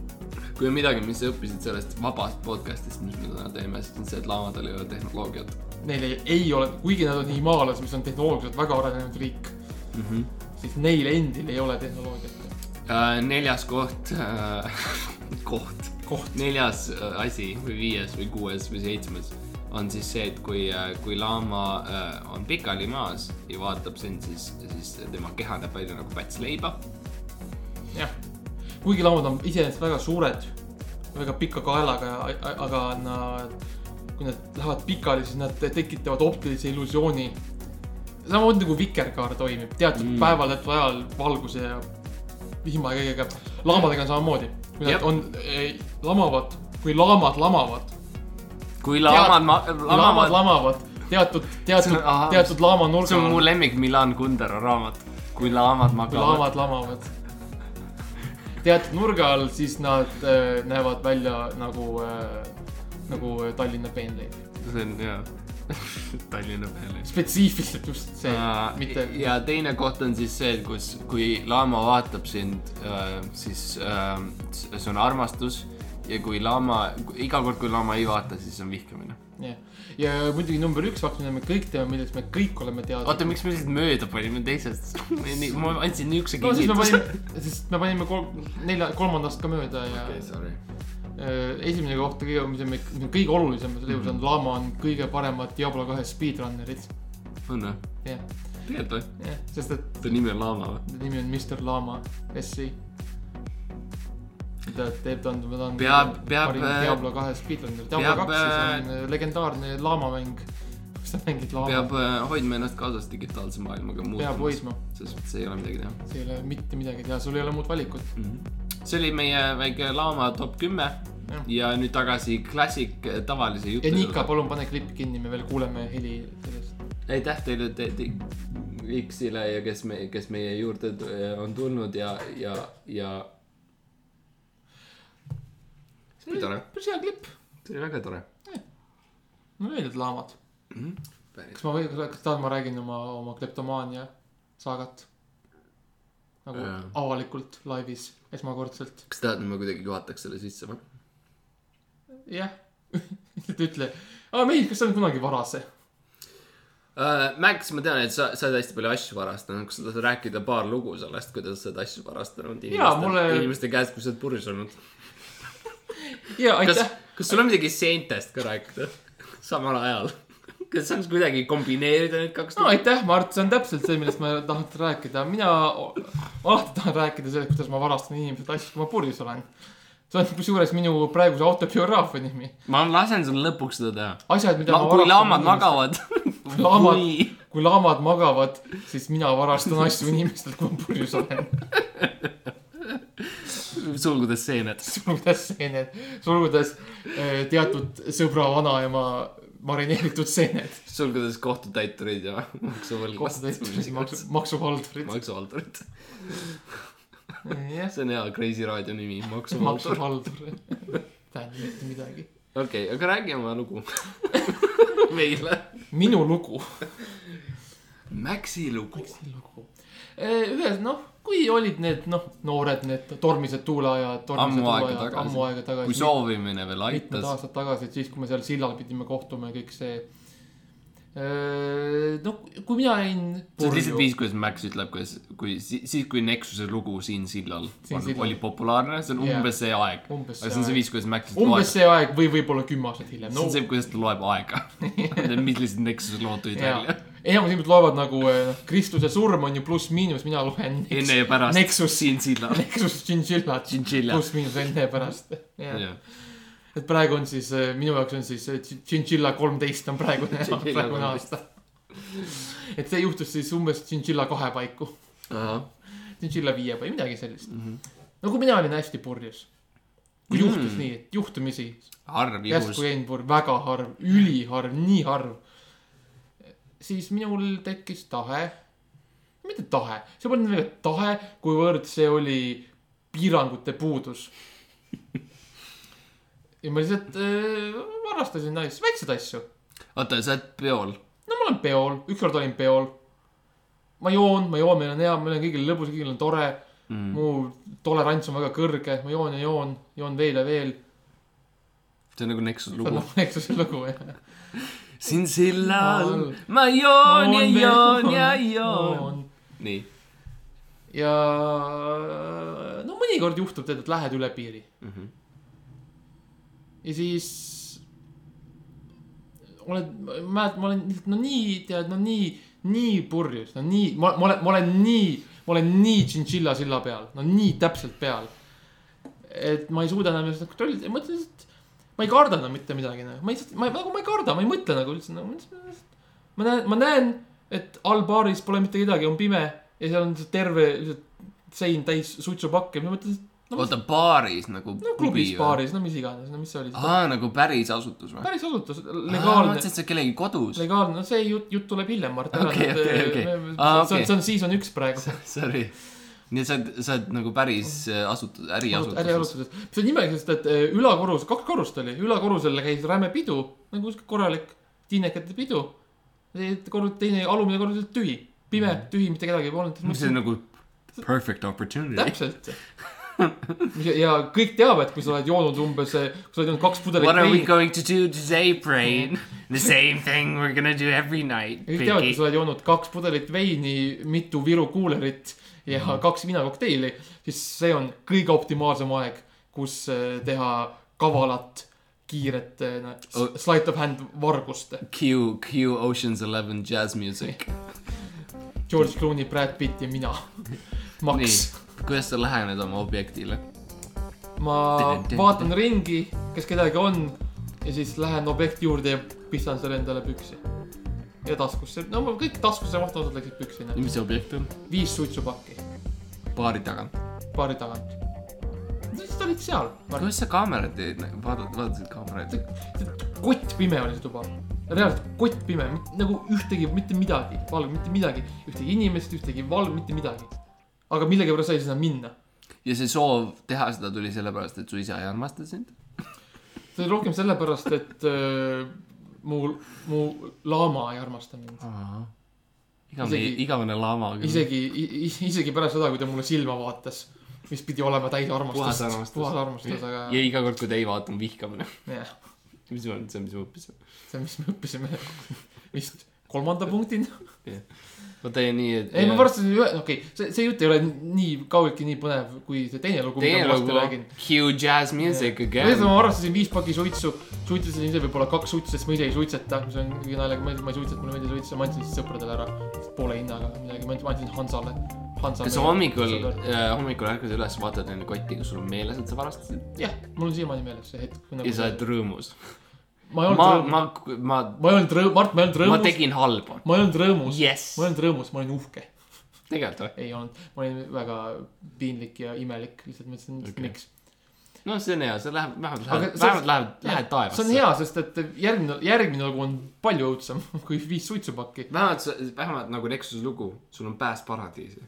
S2: kui on midagi , mis sa õppisid sellest vabast podcast'ist , mis me täna teeme , siis on see , et laamadel ei ole tehnoloogiat .
S1: Neil ei, ei ole , kuigi nad on Himaalas , mis on tehnoloogiliselt väga arenenud riik mm , -hmm. siis neil endil ei ole tehnoloogiat .
S2: Äh, neljas koht , koht
S1: koht ,
S2: neljas äh, asi või viies või kuues või seitsmes on siis see , et kui , kui laama äh, on pikali maas ja vaatab sind , siis , siis tema keha näeb välja nagu päts leiba .
S1: jah . kuigi laamad on iseenesest väga suured , väga pika kaelaga , aga nad , kui nad lähevad pikali , siis nad tekitavad optilise illusiooni . samamoodi nagu vikerkaar toimib , teatud mm. päeval , teatud ajal valguse ja vihma ja kõigega . laamadega on samamoodi , kui nad
S2: Jep.
S1: yep. on , lamavad , kui laamad lamavad ,
S2: kui laamad ,
S1: laamad
S2: laamad ,
S1: lamavad teatud , teatud
S2: See on- ahah. ,
S1: teatud laamanurga
S2: see on mu
S1: all ,
S2: lemmik Milan Kundera raamat , kui laamad
S1: kui
S2: magavad .
S1: laamad lamavad . teatud nurga all , siis nad äh, näevad välja nagu äh, , nagu äh, Tallinna peenleib .
S2: see on jaa , Tallinna peale .
S1: spetsiifiliselt just see , mitte .
S2: ja teine koht on siis see , et kus , kui laama vaatab sind , siis äh, s- see on armastus ja kui laama , iga kord , kui laama ei vaata , siis on vihkamine .
S1: jah , ja muidugi number üks fakt , mida me kõik teame , millest me kõik oleme
S2: oota ,
S1: teadlikud .
S2: miks me lihtsalt mööda panime teisest ? ma andsin niisuguse
S1: no siis me
S2: kingituse .
S1: panime , sest me panime kolm , nelja , kolmandast ka mööda ja okay,
S2: sorry .
S1: esimene koht kõige , mis on me- mis on kõige olulisem selle juures on ,
S2: Mhm.
S1: Lama on kõige paremad Diablo kahe speedrunnerid .
S2: on või ?
S1: jah ,
S2: tegelikult või ?
S1: jah , sest et
S2: ta nimi on Laama või ?
S1: ta nimi on Mr Lama , SC . mida teeb ta on , ta on
S2: Peab- peab,
S1: parim
S2: äh,
S1: Diablo kahe speedrunner . Diablo
S2: peab, äh,
S1: kaks siis on äh, legendaarne laamamäng , kus sa mängid laama ,
S2: peab äh, hoidma ennast kaasas digitaalse maailmaga
S1: peab
S2: muutumas ,
S1: hoidma ,
S2: sest see ei ole midagi teha
S1: see ei ole mitte midagi teha , sul ei ole muud valikut .
S2: mm . -hmm. see oli meie väike Laama top kümme
S1: Jah.
S2: ja nüüd tagasi klassik eh, tavalise jutu
S1: ja Nika ,. palun pane klipp kinni , me veel kuuleme heli sellest .
S2: aitäh teile te, , te, X-ile ja kes me , kes meie juurde tu- on tulnud ja , ja , ja . see oli tore ,
S1: päris hea klipp .
S2: see oli väga tore .
S1: no öeldud laamad . kas ma või , kas tahad , ma räägin oma , oma kleptomaania saagat ? nagu
S2: Jaa.
S1: avalikult laivis esmakordselt .
S2: kas tahad , et ma kuidagi juhataks selle sisse või ?
S1: jah , lihtsalt ütle . aa , Mihkel , kas sa oled kunagi varase ?
S2: Uh, Max , ma tean , et sa , sa oled hästi palju asju varastanud , kas sa tahad rääkida paar lugu sellest , kuidas sa oled asju varastanud inimeste,
S1: mulle-
S2: inimeste käest , kui sa oled purjus olnud ?
S1: jaa ,
S2: kas
S1: aitäh .,
S2: kas sul on midagi seentest ka rääkida samal ajal ? kas saaks kuidagi kombineerida need kaks
S1: no ? aitäh , Mart , see on täpselt see , millest ma tahan rääkida . mina o- alati tahan rääkida sellest , kuidas ma varastan inimesed asju , kui ma purjus olen . see on kusjuures minu praeguse autobiograafia nimi .
S2: ma lasen sul lõpuks seda teha .
S1: asjad , mida ma,
S2: kui laamad
S1: inimestelt-
S2: magavad .
S1: laamad , kui laamad magavad , siis mina varastan asju inimestelt , kui ma purjus olen .
S2: sulgudes seened .
S1: sulgudes seened , sulgudes eh, teatud sõbra vanaema marineeritud seened .
S2: sulgudes kohtutäiturid ja
S1: kohtutäiturid ,
S2: maksuvõlglased .
S1: maksu , maksuhaldurid .
S2: maksuhaldurid .
S1: jah ,
S2: see on hea Kreisi raadio nimi , maksuhaldur .
S1: maksuhaldur . tähendab mitte midagi .
S2: okei , aga räägi oma lugu meile .
S1: minu lugu .
S2: Maxi lugu .
S1: miks see lugu ? ühes , noh , kui olid need , noh , noored , need tormised tuuleajad .
S2: Ammu aega tagasi.
S1: ammu aega tagasi .
S2: kui soovimine veel
S1: mitmed
S2: aitas .
S1: aastad tagasi , et siis , kui me seal sillal pidime kohtuma ja kõik see . no kui mina jäin .
S2: see on lihtsalt viis , kuidas Max ütleb , kuidas , kui si- siis , kui Nexuse lugu Siin sillal
S1: Siin
S2: on,
S1: sillal.
S2: oli populaarne , see on
S1: Jaa.
S2: umbes see aeg .
S1: Umbes
S2: see
S1: see
S2: on see
S1: aeg.
S2: viis , kuidas Max loeb
S1: umbes , see aeg või võib-olla kümme aastat hiljem .
S2: see on see , kuidas ta loeb aega . millised Nexuse lood tulid välja .
S1: enamus inimesed loevad nagu eh, noh, Kristuse surm on ju pluss-miinus , mina loen Nex-
S2: enne ja pärast .
S1: Nexus ,
S2: Siin sillal .
S1: Nexus Chinchillat ,
S2: Chinchilla .
S1: pluss-miinus enne ja pärast . et praegu on siis , minu jaoks on siis eh, Chin- Chinchilla kolmteist on praegune ,
S2: Chinchilla
S1: praegune
S2: 13.
S1: aasta . et see juhtus siis umbes Chinchilla kahe paiku . Chinchilla viie või midagi sellist mm . -hmm. no kui mina olin hästi purjus , kui mm. juhtus nii , et juhtumisi
S2: harv juhus
S1: järsku . jäin purjus , väga harv , üliharv , nii harv , siis minul tekkis tahe , mitte tahe , see polnud veel tahe , kuivõrd see oli piirangute puudus . ja ma lihtsalt äh, varastasin naisi , väikseid asju .
S2: oota , sa oled peol .
S1: no ma olen peol , ükskord olin peol . ma joon , ma joon , meil on hea , meil on kõigil lõbus , kõigil on tore mm. . mu tolerants on väga kõrge , ma joon ja joon , joon veel ja veel .
S2: see on nagu Nexuse
S1: see on
S2: lugu .
S1: nagu Nexuse lugu jah .
S2: Siin sillal ma joon ja joon ja joon .. nii .
S1: ja no mõnikord juhtub tead , et lähed üle piiri mm .
S2: Mhm.
S1: ja siis oled , mäletad , ma olen lihtsalt no nii , tead , no nii , nii purjus , no nii , ma , ma olen , ma olen nii , ma olen nii tšintšilla silla peal , no nii täpselt peal . et ma ei suuda enam ennast kontrollida , ma ütlen lihtsalt , ma ei karda enam mitte midagi , ma lihtsalt , ma ei- nagu ma ei karda , ma ei mõtle nagu üldse nagu, , ma lihtsalt ma näen , ma näen , et all baaris pole mitte kedagi , on pime ja seal on lihtsalt terve lihtsalt sein täis suitsupakke , ma mõtlen , no mis
S2: oota , baaris nagu
S1: no, klubis ,? baaris , no mis iganes , no mis see oli ,
S2: aa , nagu päris asutus või ?
S1: päris asutus ,
S2: ma
S1: legaalne ,
S2: mõtlesin , et see on kellegi kodus .
S1: legaalne , no see jutt , jutt tuleb hiljem , Mart .
S2: Okei, okei, okei. Aa,
S1: see on ,
S2: okei.
S1: see on season üks praegu .
S2: Sorry . nii et sa oled , sa oled nagu päris äh, asutus , äriasutuses .
S1: ärialustused , see on imeline , sest et eh, ülakorrus , kaks korrust oli , ülakorrusel käis räme pidu , nagu sihuke korralik tiinekate pidu . kord teine , alumine kord oli tühi , pime , tühi , mitte kedagi ei polnud .
S2: Mhm. see on nagu perfect opportunity .
S1: täpselt . ja kõik teavad , kui sa oled joonud umbes , kui sa oled joonud kaks
S2: What
S1: pudelit
S2: are we
S1: veini .
S2: going to do today , Brain ? The same thing we are gonna do every night ,
S1: kõik teavad , kui
S2: Piggy .
S1: sa oled joonud kaks pudelit veini , mitu Viru kuulerit ja kaks vinakokteili , siis see on kõige optimaalsem aeg , kus äh, teha kavalat , kiiret äh, nä-
S2: Oh.
S1: sleight of hand vargust .
S2: Q , Q Ocean's Eleven jazz music .
S1: George Clooney , Brad Pitt ja mina .
S2: nii
S1: Max .,
S2: kuidas sa lähened oma objektile ?
S1: ma vaatan ringi , kes kedagi on ja siis lähen objekti juurde ja pistan selle endale püksi . ja taskusse , no mul kõik taskusse vahtavad läksid püksi , noh .
S2: mis see objekt on ?
S1: viis suitsupakki ,
S2: baari tagant .
S1: paari tagant . siis olid seal ,
S2: kuidas sa kaamerat teed , vaatad , vaatasid kaameraid ?
S1: kott pime oli see tuba , reaalselt kott pime , nagu ühtegi , mitte midagi , valge , mitte midagi , ühtegi inimest , ühtegi valge , mitte midagi . aga millegipärast sai sinna minna ,
S2: ja see soov teha seda tuli sellepärast , et su isa ei armasta sind ?
S1: see oli rohkem sellepärast , et öö, mu , mu laama ei armasta mind .
S2: igavene
S1: Isegi- ,
S2: igavene lama .
S1: isegi , isegi pärast seda , kui ta mulle silma vaatas , mis pidi olema täis
S2: Puhas
S1: armastust
S2: armastus. ,
S1: puhas armastus , aga
S2: ja iga kord , kui ta ei vaata , on vihkamine .
S1: jah ,
S2: mis on see , mis ma õppisin ?
S1: see , mis me õppisime vist kolmanda punktina .
S2: vaata ja nii , et .
S1: ei , ma . varsti , okei okay, , see , see jutt ei ole nii kaugeltki nii põnev kui see teine lugu , mida
S2: teine
S1: ma varsti
S2: lugu
S1: räägin .,
S2: Q Jazz Music
S1: ühesõnaga ,
S2: Again .
S1: ma varastasin viis paki suitsu , suitsetasin ise võib-olla kaks suitsu , sest ma ise ei suitseta , mis on kõige naljaga , ma ei , ma ei suitseta , mulle meeldib suitsu , ma andsin siis sõpradele ära , poole hinnaga või midagi , ma andsin- ma andsin Hansale , Hansale .
S2: kas sa hommikul , hommikul ärkad üles , vaatad enda kotti , kas sul on meeles , et sa varastasid ?
S1: jah , mul on siiamaani meeles see hetk .
S2: ja sa oled rõõmus .
S1: Nagu- ma ei
S2: ma ,
S1: olnud ,
S2: ma , ma ,
S1: ma ei olnud rõõm- , Mart , ma ei olnud
S2: ma
S1: rõõmus ,
S2: tegin halba .
S1: ma ei olnud rõõmus yes. ,
S2: jess
S1: ma ei . olnud rõõmus , ma olin uhke ,
S2: tegelikult või ?
S1: ei olnud , ma olin väga piinlik ja imelik , lihtsalt mõtlesin
S2: Okei.
S1: okay. , miks .
S2: no see on hea , sa lähed , vähemalt
S1: Aga
S2: lähed ,
S1: see-
S2: vähemalt lähed , lähed taevasse .
S1: see on hea , sest et järgmine , järgmine lugu on palju õudsem kui viis suitsupakki .
S2: vähemalt sa , vähemalt nagu Nexuse lugu , sul on pääs paradiisi .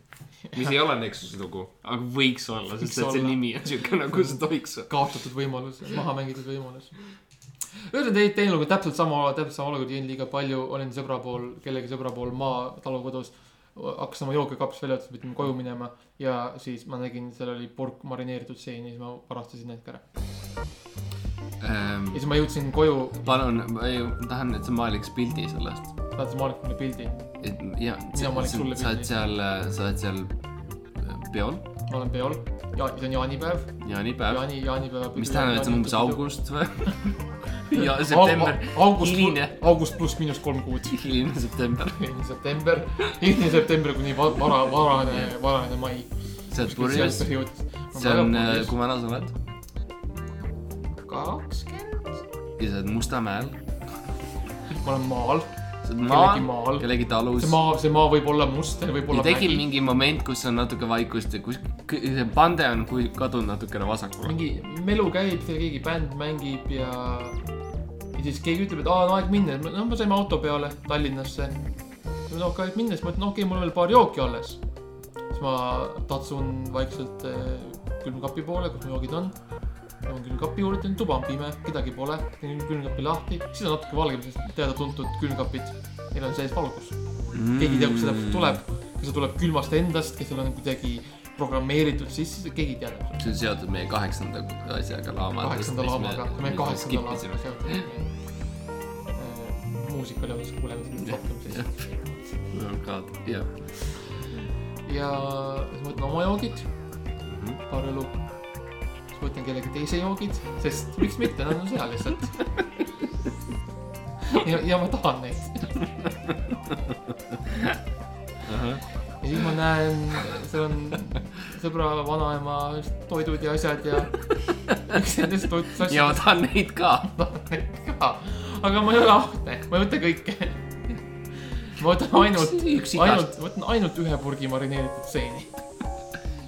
S2: mis ei ole Nexuse lugu , aga võiks olla , sest
S1: Võiks
S2: et see
S1: olla.
S2: nimi on siuke nagu see tohiks olla .
S1: kaotatud võimalus , maha mängitud võimalus . ühesõnaga , teie teine lugu on täpselt sama , täpselt sama olukord , jõin liiga palju , olin sõbra pool , kellegi sõbra pool maa talukodus . hakkas oma jookekaps välja , ütles , et pidime koju minema ja siis ma nägin , seal oli purk marineeritud seeni , siis ma varastasin need ka ära . ja siis ma jõudsin koju ,
S2: Ehm, palun , ma ei- ma tahan , et sa maaliks pildi sellest .
S1: saatis Marek mulle pildi ,
S2: et ja ,
S1: Mina maaliks
S2: sa
S1: sulle
S2: sa oled
S1: pildi.
S2: seal , sa oled seal äh, peol ,
S1: ma olen peol ja siis on jaanipäev ,
S2: jaanipäev ,
S1: jaani , jaanipäeva .
S2: mis tähendab , et see on umbes . august või ? ja september ,
S1: august ,
S2: hiline ,
S1: august pluss miinus kolm kuud .
S2: hiline september .
S1: hiline september , hiline september kuni va- vara , varane , varane mai .
S2: sa oled purjus , see on , äh, kui vana sa oled
S1: kakskümmend .
S2: ja sa oled Mustamäel ,
S1: ma olen maal ,
S2: sa oled
S1: kellegi
S2: maal ,
S1: maal .
S2: kellegi talus
S1: see . maa , see maa võib olla must , see võib
S2: ja
S1: olla
S2: tekib . mingi moment , kus on natuke vaikust ja kus kõ- see pande on kui- kadunud natukene vasakule .
S1: mingi melu käib , seal keegi bänd mängib ja , ja siis keegi ütleb , et aa , on aeg minna , no me saime auto peale Tallinnasse . noh , aga minna , siis ma ütlen , okei okay, , mul on veel paar jooki alles . siis ma tatsun vaikselt eh, külmkapi poole , kus mu joogid on . jõuan külmkapi juurde , teen tuba on pime , kedagi pole , teen külmkapi lahti , siis on natuke valgem , sest teada-tuntud külmkapid , neil on sees valgus . keegi ei tea , kust see täpselt .
S2: Mm.
S1: tuleb , kas see tuleb külmast endast , kes seal on nagu kuidagi programmeeritud sisse , keegi ei tea täpselt .
S2: see on seotud meie kaheksanda asjaga laamaga .
S1: kaheksanda laamaga , me kaheksanda laamaga . seotud Äh, muusika oli otsa kuulemisel rohkem siis .
S2: jah ,
S1: ja siis ma võtan oma joogid , paar õlu . siis võtan kellegi teise joogid , sest miks mitte , nad on seal lihtsalt . ja , ja ma tahan neid . ja siis ma näen , seal on sõbra vanaema toidud ja asjad ja üks nendest toitudest
S2: ja ma tahan neid ka .
S1: ka , aga ma ei ole ahne , ma ei võta kõike . ma võtan ainult ,
S2: üks igast .
S1: ainult , võtan ainult ühe purgi marineeritud seeni .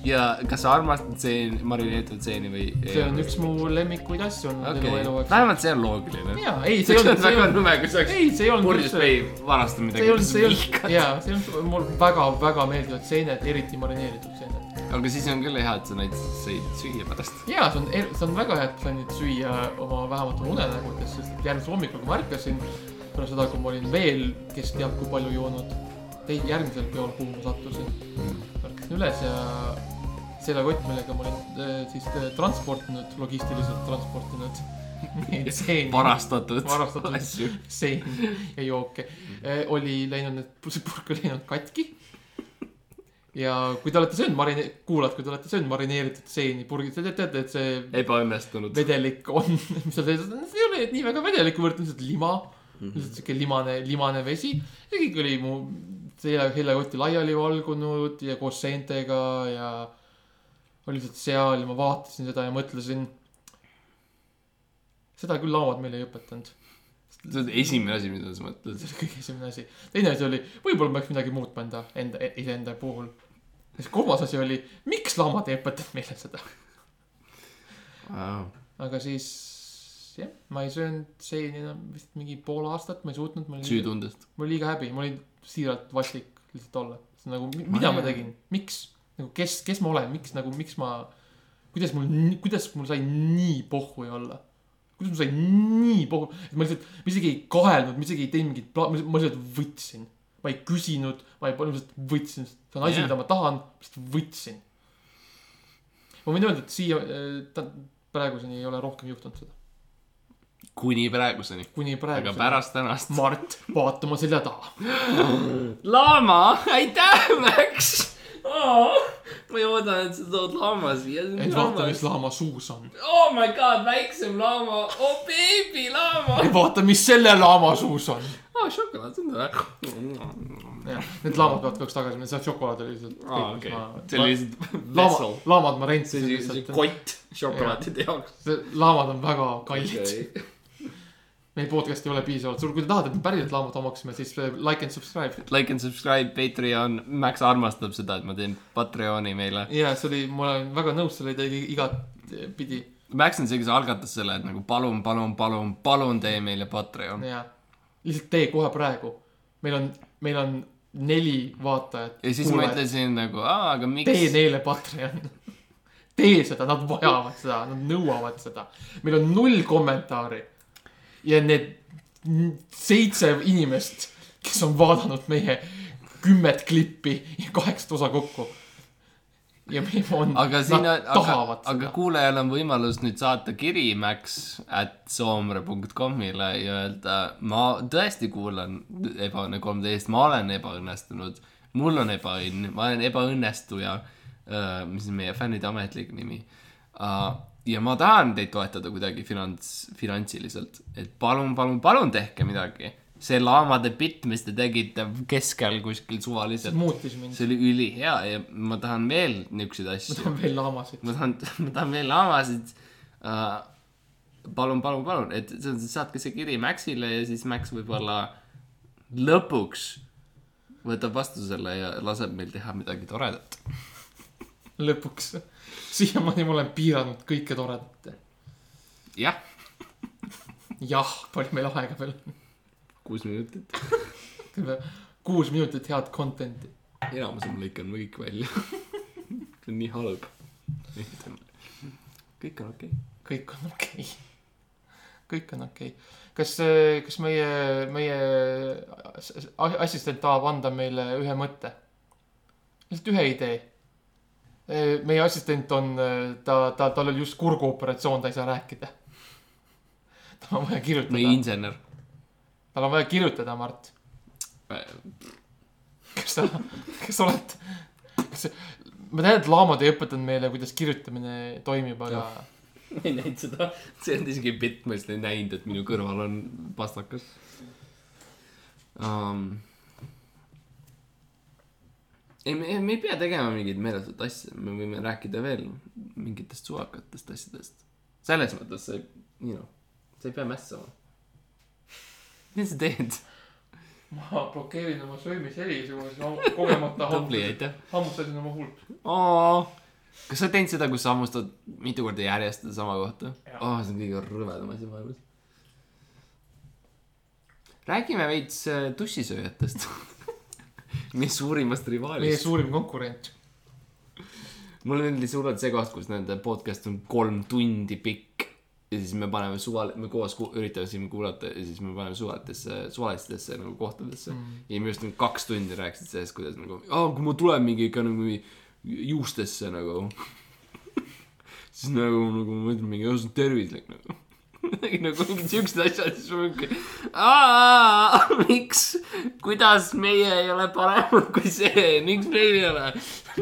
S2: ja kas sa armastad seeni , marineeritud seeni või ?
S1: see on üks mu lemmikuid asju on minu
S2: okei
S1: elu , jaoks .
S2: vähemalt see on loogiline .
S1: ja , ei , see
S2: see
S1: ei
S2: oleks
S1: olnud , see ei
S2: väga
S1: olnud ,
S2: nõme , kui sa oleks
S1: ei , see ei olnud
S2: purjus või varasta
S1: see ei olnud , see ei
S2: midagi .
S1: olnud , jaa , see ei olnud , mul väga-väga meeldivad seened , eriti marineeritud seened .
S2: aga siis on küll hea , et sa neid said süüa pärast .
S1: jaa , see on , see on väga hea , et sain neid süüa oma vähemalt oma unenägudes , sest järgmisel hommikul , kui ma ärkasin , pärast seda , kui ma olin veel , kes teab , kui palju joonud , teid järgmisel peol kuhu ma sattusin , ärkasin üles ja selle kott , millega ma olin äh, siis äh, transportinud , logistiliselt transportinud neid seeni ,
S2: varastatud
S1: Varastatud.
S2: asju .
S1: seeni ja jooke , oli läinud , see purk oli läinud katki . ja kui te olete söönud marine- , kuulad , kui te olete söönud marineeritud seeni purgis , te teate , et see
S2: ebaõnnestunud .
S1: vedelik on , mis seal sees on , see ei ole nii väga vedelik , kuivõrd lihtsalt lima mm , lihtsalt -hmm. sihuke limane , limane vesi . see kõik oli mu selja , seljakotti laiali valgunud ja koos seentega ja ma lihtsalt seal ja ma vaatasin seda ja mõtlesin . seda küll laomad meile ei õpetanud ,
S2: see on esimene asi , mida sa mõtled .
S1: see oli kõige esimene asi . teine asi oli , võib-olla ma peaks midagi muutma enda , enda , iseenda puhul . siis kolmas asi oli , miks laomad ei õpetanud meile seda ? aga siis jah , ma ei söönud seeni enam vist mingi pool aastat , ma ei suutnud , ma olin ,
S2: süütundest .
S1: ma olin liiga häbi , ma olin siiralt vastik lihtsalt olla . nagu , mida ma tegin , miks , nagu kes , kes ma olen , miks nagu , miks ma , kuidas mul , kuidas mul sai nii pohhui olla ? kuidas mul sai nii pohhu , et ma lihtsalt , ma isegi ei kahelnud , ma isegi ei teinud mingit pla- , ma lihtsalt võtsin . ma ei küsinud , ma ei , ma lihtsalt võtsin , see on asi
S2: Jah.
S1: yeah. , mida ma tahan , lihtsalt võtsin . ma võin öelda , et siia , ta praeguseni ei ole rohkem juhtunud seda ,
S2: kuni praeguseni .
S1: kuni
S2: aga
S1: praeguseni .
S2: pärast tänast .
S1: Mart , vaata oma selja taha .
S2: laama , aitäh , Max . ma ei oodanud , et sa tood laama siia .
S1: et vaata , mis laama suus on .
S2: oh my god , väiksem laama , oh baby laama .
S1: et vaata , mis selle laama suus on .
S2: aa , Oh, šokolaad , see on tore .
S1: Need laamad peavad kogu aeg tagasi minema , see šokolaad oli lihtsalt .
S2: aa , okei . see oli . lihtsalt
S1: laama
S2: vessel .,
S1: laamad ma
S2: see
S1: rentsin
S2: oli lihtsalt
S1: lihtsalt .
S2: kott šokolaadide jaoks .
S1: laamad on väga kallid okay. . meil podcast'i ei ole piisavalt suur , kui te tahate , et me päriselt laamad omaksime , siis eh, like and subscribe .
S2: Like and subscribe , Patreon , Max armastab seda , et ma teen Patreoni meile .
S1: ja see oli , ma olen väga nõus selle ideega igatpidi
S2: Max on see , kes algatas selle , et nagu palun , palun , palun , palun tee meile Patreon .
S1: ja lihtsalt tee kohe praegu . meil on , meil on neli vaatajat .
S2: ja siis ma . ütlesin nagu , aa , aga
S1: tee
S2: miks .
S1: neile Patreon . tee seda , nad vajavad seda , nad nõuavad seda . meil on null kommentaari . ja need n- seitse inimest , kes on vaadanud meie kümmet klippi ja kaheksat osa kokku . ja meil on ,
S2: aga
S1: nad
S2: siin on , aga
S1: tahavad ,
S2: aga
S1: seda .
S2: kuulajal on võimalus nüüd saata kiri max at soomre.com'ile ja öelda , ma tõesti kuulan Ebaõnne kolmteist , ma olen ebaõnnestunud , mul on ebaõnn , ma olen ebaõnnestuja , mis on meie fännide ametlik nimi . ja ma tahan teid toetada kuidagi finants , finantsiliselt , et palun , palun , palun tehke midagi . see laamade bitt , mis te tegite keskel kuskil suvaliselt ,
S1: muutis mind ,
S2: see oli ülihea ja ma tahan veel niisuguseid asju
S1: ma . tahan veel laamasid .
S2: ma tahan , ma tahan veel laamasid uh, . palun , palun , palun , et sa sa saatke see kiri Maxile ja siis Max võib-olla lõpuks võtab vastu selle ja laseb meil teha midagi toredat .
S1: lõpuks . siiamaani ma olen piiranud kõike toredat .
S2: jah ,
S1: jah , palju meil aega veel on ?
S2: kuus minutit .
S1: kuus minutit head content'i .
S2: enamus on lõikanud me kõik välja . see on nii halb . kõik on okei okay. .
S1: kõik on okei okay. . kõik on okei okay. . kas , kas meie , meie as- as- assistent tahab anda meile ühe mõtte ? lihtsalt ühe idee . meie assistent on , ta , ta , tal oli just kurguoperatsioon , ta ei saa rääkida . tal on vaja
S2: meie
S1: kirjutada ,
S2: insener .
S1: tal on vaja kirjutada , Mart .
S2: Äh,
S1: kas sa , kas sa oled , kas , ma tean , et laamad ei õpetanud meile , kuidas kirjutamine toimib , aga
S2: Jah. ma ei näinud seda , see on isegi bitt , ma lihtsalt ei näinud , et minu kõrval on pastakas um, . ei , me , me ei pea tegema mingeid meeletut asja , me võime rääkida veel mingitest suvakatest asjadest . selles mõttes sa ei , you know , sa ei pea mässama . mis sa teed ?
S1: ma blokeerin oma söömisheli , siis kogemata
S2: tubli , aitäh .
S1: hammustasin oma hulk .
S2: kas sa oled teinud seda , kus sa hammustad mitu korda järjest sama kohta ?
S1: Jaa.
S2: oh, see on kõige rõvedam asi maailmas . räägime veits äh, tussisööjatest . meie suurimast
S1: meie
S2: rivaalist .
S1: suurim konkurent .
S2: mul on endal suurelt see koht , kus nende podcast on kolm tundi pikk ja siis me paneme suval- , me koos ku- üritame siin kuulata ja siis me paneme suvatesse , suvalistesse nagu kohtadesse mm. . ja minu arust nad kaks tundi rääkisid sellest , kuidas nagu , kui ma tulen mingi ikka nagu mingi juustesse nagu . siis nagu , nagu ma mõtlen mingi , see on tervislik nagu . nagu mingid siuksed asjad , siis ma mingi , aa , miks , kuidas meie ei ole paremad kui see , miks meil ei ole ,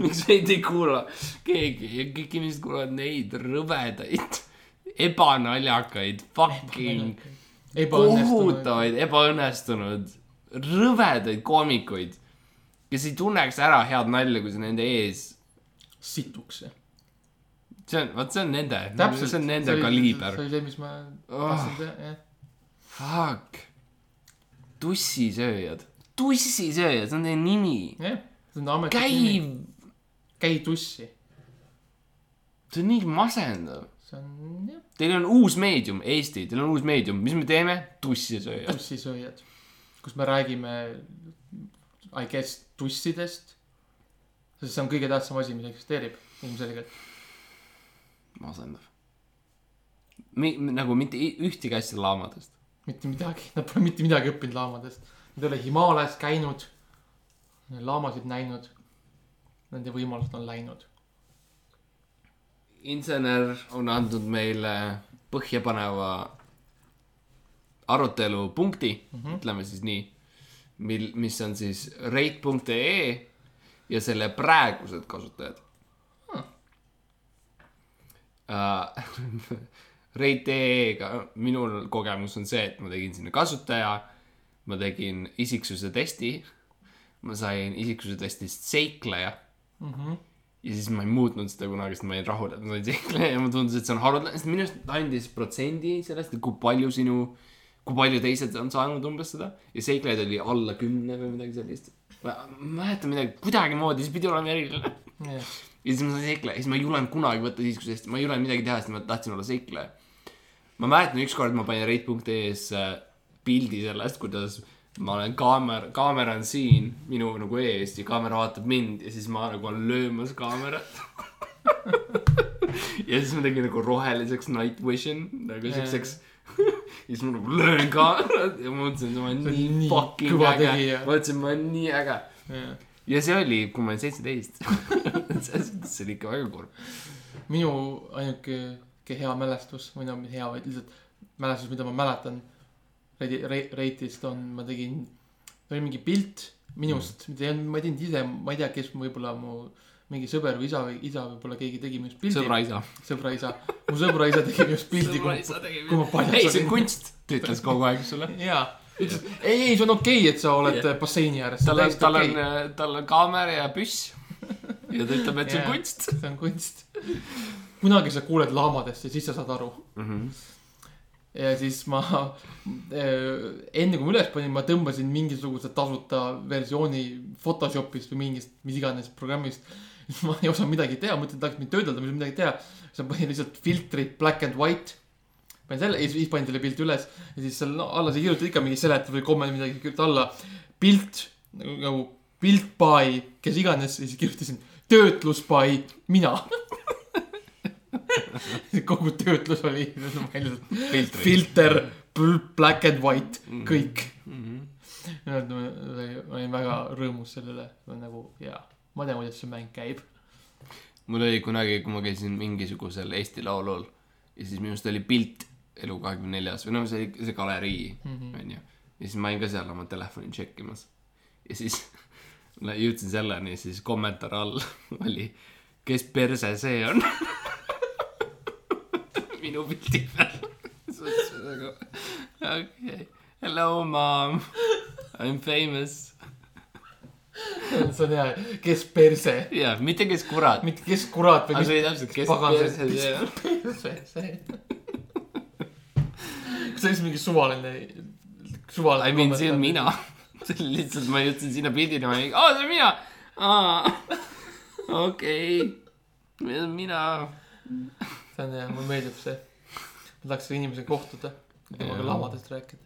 S2: miks meid ei kuula keegi ja kõik inimesed kuulavad neid rõvedaid ebanaljakaid , fucking kohutavaid , ebaõnnestunud , rõvedaid koomikuid , kes ei tunneks ära head nalja , kui see nende ees ,
S1: situks .
S2: see on , vot see on nende , see on nende kaliiber Ah.
S1: see . oli see , mis ma tahtsin teha , jah .
S2: Fuck , tussisööjad , tussisööjad , see on teie nimi ,
S1: jah , see on ametlik nimi .
S2: käiv ,
S1: käi tussi .
S2: see on nii masendav .
S1: see on , jah ,
S2: Teil on uus meedium , Eesti , teil on uus meedium , mis me teeme ? tussisööjad .
S1: tussisööjad , kus me räägime , I guess , tussidest . sest see on kõige tähtsam asi , mis eksisteerib ilmselgelt .
S2: masendav . Mi- , nagu mitte i- ühtegi asja laamadest .
S1: mitte midagi , nad pole mitte midagi õppinud laamadest . Nad ei ole Himaalias käinud , laamasid näinud . Nende võimalused on läinud .
S2: insener on andnud meile põhjapaneva arutelupunkti mm , -hmm. ütleme siis nii , mil , mis on siis rate.ee ja selle praegused kasutajad huh. uh, . Rate.ee-ga minul kogemus on see , et ma tegin sinna kasutaja , ma tegin isiksuse testi , ma sain isiksuse testist seikleja ja siis ma ei muutnud seda kunagi , sest ma olin rahul , et ma sain tsikli ja mulle tundus , et see on haruldane , sest minu arust ta andis protsendi sellest , et kui palju sinu , kui palju teised on saanud umbes seda ja seikleid oli alla kümne või midagi sellist . ma ma ei mäleta midagi , kuidagimoodi , see pidi olema eriline . ja siis ma sain seikleja , siis ma ei julenud kunagi võtta isiksuse eest , ma ei julenud midagi teha , sest ma tahtsin olla seikleja . ma mäletan , ükskord ma panin rate.ee-s äh, pildi sellest , kuidas ma olen kaamera , kaamera on siin minu nagu ees ja kaamera vaatab mind ja siis ma nagu olen löömas kaamerat . ja siis ma tegin nagu roheliseks night vision nagu siukseks . ja siis ma nagu löön kaamerat ja ma mõtlesin , et ma olen
S1: See on
S2: nii
S1: nii
S2: fucking
S1: kõva
S2: äge
S1: tegija. .
S2: ma mõtlesin , ma olen nii äge ja see oli , kui ma olin seitseteist . see oli ikka väga kurb .
S1: minu ainuke ke- hea mälestus või no mitte hea , vaid lihtsalt mälestus , mida ma mäletan Reidi- Re- , Reitist on , ma tegin , oli mingi pilt
S2: Mm.
S1: minust , mida ei olnud , ma ei teinud ise , ma ei tea , kes võib-olla mu mingi sõber või isa või isa võib-olla keegi tegi minust pildi .
S2: sõbra isa .
S1: sõbra isa , mu sõbra isa tegi minust pildi , kui ma , kui ma paljas
S2: ei , see on
S1: olin.
S2: kunst , ta ütles kogu aeg sulle .
S1: jaa , ütles , ei , ei , see on okei okay, , et sa oled yeah. basseini ääres , see on
S2: tal
S1: täiesti
S2: on , tal
S1: okei
S2: on , tal on kaamera ja püss . ja ta ütleb , et see on
S1: Jaa.
S2: kunst .
S1: see on kunst . kunagi sa kuuled laamadest ja siis sa saad aru .
S2: Mhm.
S1: ja siis ma , enne kui ma üles panin , ma tõmbasin mingisuguse tasuta versiooni Photoshopist või mingist , mis iganes programmist . ma ei osanud midagi teha , mõtlesin , et tahaks mind töödelda , ma ei osanud midagi teha . siis ma panin lihtsalt filtri black and white . panin selle ja siis panin selle pildi üles ja siis seal no, alla sa kirjutad ikka mingi seletus või komment või midagi , kirjutad alla pilt nagu, nagu pilt by kes iganes ja siis kirjutasin töötlus by mina . kogu töötlus oli välja
S2: filtrid .
S1: filter , black and white ,
S2: Mhm.
S1: kõik . Mhm. ma ma olin väga rõõmus selle üle , nagu jaa , ma tean , kuidas see mäng käib .
S2: mul oli kunagi , kui ma käisin mingisugusel Eesti Laulul ja siis minu arust oli pilt elu kahekümne neljas või noh , see oli see galerii
S1: Mhm.
S2: onju . ja siis ma olin ka seal oma telefoni tšekkimas . ja siis no, jõudsin selleni , siis kommentaar all oli , kes perse see on . minu pildi peal . siis ma ütlesin nagu , okei okay. , hello mom , I m famous .
S1: see on hea , kes perse ,
S2: jaa , mitte kes kurat ,
S1: mitte kes kurat
S2: aga
S1: või
S2: see oli täpselt , kes
S1: pagan see-
S2: perse see on .
S1: mis perse see on . see oli mingi suvaline , suvaline .
S2: I mean , see on . mina . see oli lihtsalt , ma jõudsin sinna pildile , ma olin , aa , see olen mina . aa , okei , see olen mina .
S1: see on hea , mulle meeldib see . ma tahaks selle inimesega kohtuda , temaga
S2: Jaa.
S1: laamadest rääkida .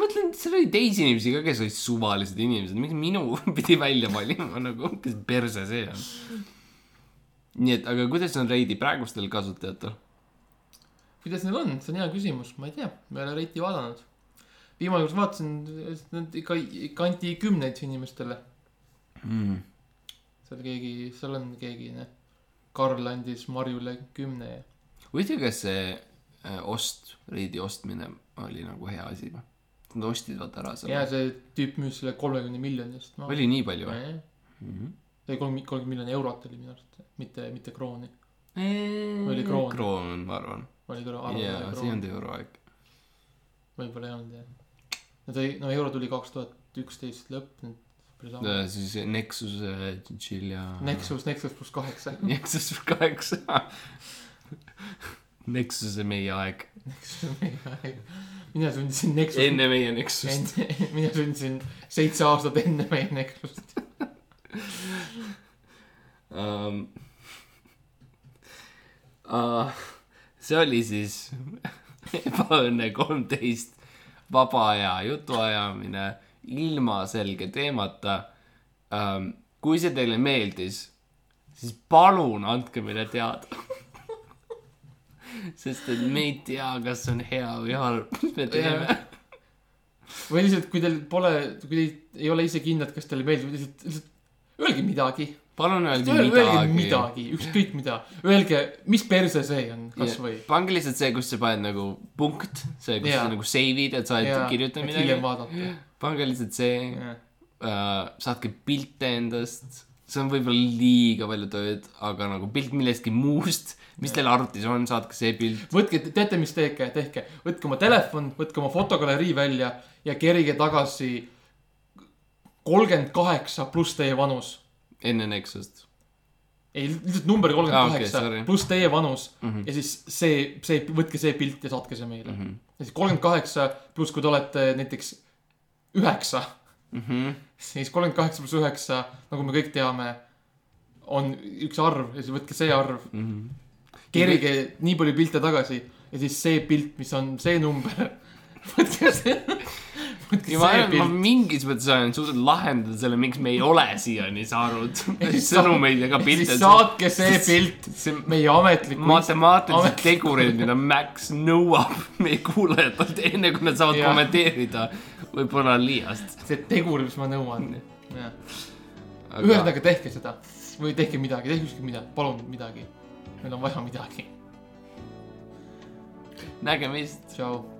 S2: mõtlen , seal oli teisi inimesi ka , kes olid suvalised inimesed , miks minu pidi välja valima nagu , kes perse see on . nii et , aga kuidas on Reidi praegustel kasutajatel ?
S1: kuidas neil on , see on hea küsimus , ma ei tea , ma ei ole reiti vaadanud . viimane kord vaatasin , nad ikka , ikka anti kümneid inimestele .
S2: mm. .
S1: seal keegi , seal on keegi , noh . Karl andis Marjule kümne ja
S2: huvitav , kas see äh, ost , riidi ostmine oli nagu hea asi või ? Nad ostsid vaata ära
S1: ja
S2: selle .
S1: see tüüp müüs selle kolmekümne miljoni eest maha .
S2: oli nii palju või ? Mhm.
S1: see kolm , kolmkümmend miljonit eurot oli minu arust , mitte , mitte krooni .
S2: oli
S1: kroon.
S2: kroon , ma arvan .
S1: oli küll
S2: jaa , see ei
S1: arvamus ,
S2: olnud euroaeg .
S1: võib-olla ei olnud jah . no ta ei , no euro tuli kaks tuhat üksteist lõpp , nüüd päris ammu .
S2: Äh, siis Nexuse , Chinchilla .
S1: Nexus , Nexus pluss kaheksa .
S2: Nexus kaheksa . Nexuse meie aeg .
S1: mina sundisin Nexust .
S2: enne meie Nexust .
S1: enne , mina sündisin seitse aastat enne meie Nexust .
S2: um, . Uh, see oli siis ebaõnne kolmteist , vaba aja jutuajamine ilma selge teemata um, . kui see teile meeldis , siis palun andke meile teada . sest et me ei tea , kas see on hea või halb , mis me teeme .
S1: või lihtsalt , kui teil pole , kui teil ei ole ise kindlad , kas teile meeldib , lihtsalt , lihtsalt öelge midagi .
S2: palun öelge
S1: öelge
S2: midagi .
S1: midagi , ükskõik mida . Öelge , mis perse see on , kasvõi .
S2: pange lihtsalt see , kus sa paned nagu punkt , see , kus
S1: Jaa.
S2: sa nagu save'id , et sa oled kirjutanud midagi
S1: hiljem . vaadata .
S2: pange lihtsalt see , saatke pilte endast , see on võib-olla liiga palju tööd , aga nagu pilt millestki muust , mis teil arvutis on , saatke see pilt .
S1: võtke , teate , mis tehke , tehke , võtke oma telefon , võtke oma fotogalerii välja ja kerige tagasi kolmkümmend kaheksa pluss teie vanus .
S2: enne Nexust .
S1: ei , lihtsalt number
S2: Aa,
S1: kolmkümmend
S2: Ah, okei, sorry.
S1: kaheksa pluss teie vanus mm
S2: Mhm.
S1: -hmm. ja siis see , see , võtke see pilt ja saatke see meile mm . -hmm. ja siis kolmkümmend kaheksa pluss , kui te olete näiteks üheksa ,
S2: Mhm.
S1: siis kolmkümmend kaheksa pluss üheksa , nagu me kõik teame , on üks arv ja siis võtke see arv ,
S2: Mhm.
S1: kerige nii palju pilte tagasi ja siis see pilt , mis on see number , võtke see , võtke
S2: ja ma
S1: see
S2: arvan , ma
S1: pilt .
S2: mingis mõttes olen suutnud lahendada selle , miks me ei ole siiani saanud sõnumeid ega
S1: ja siis
S2: pilte .
S1: saatke see pilt
S2: see
S1: meie ametliku
S2: matemaatilised
S1: Amet-
S2: tegurid , mida Max nõuab meie kuulajatelt enne , kui nad saavad
S1: Jah.
S2: kommenteerida , võib-olla on liiast .
S1: see tegur , mis ma nõuan . jah .
S2: Aga-
S1: ühesõnaga tehke seda või tehke midagi , tehke ükskõik mida , palun midagi . meil on vaja midagi .
S2: nägemist .
S1: tšau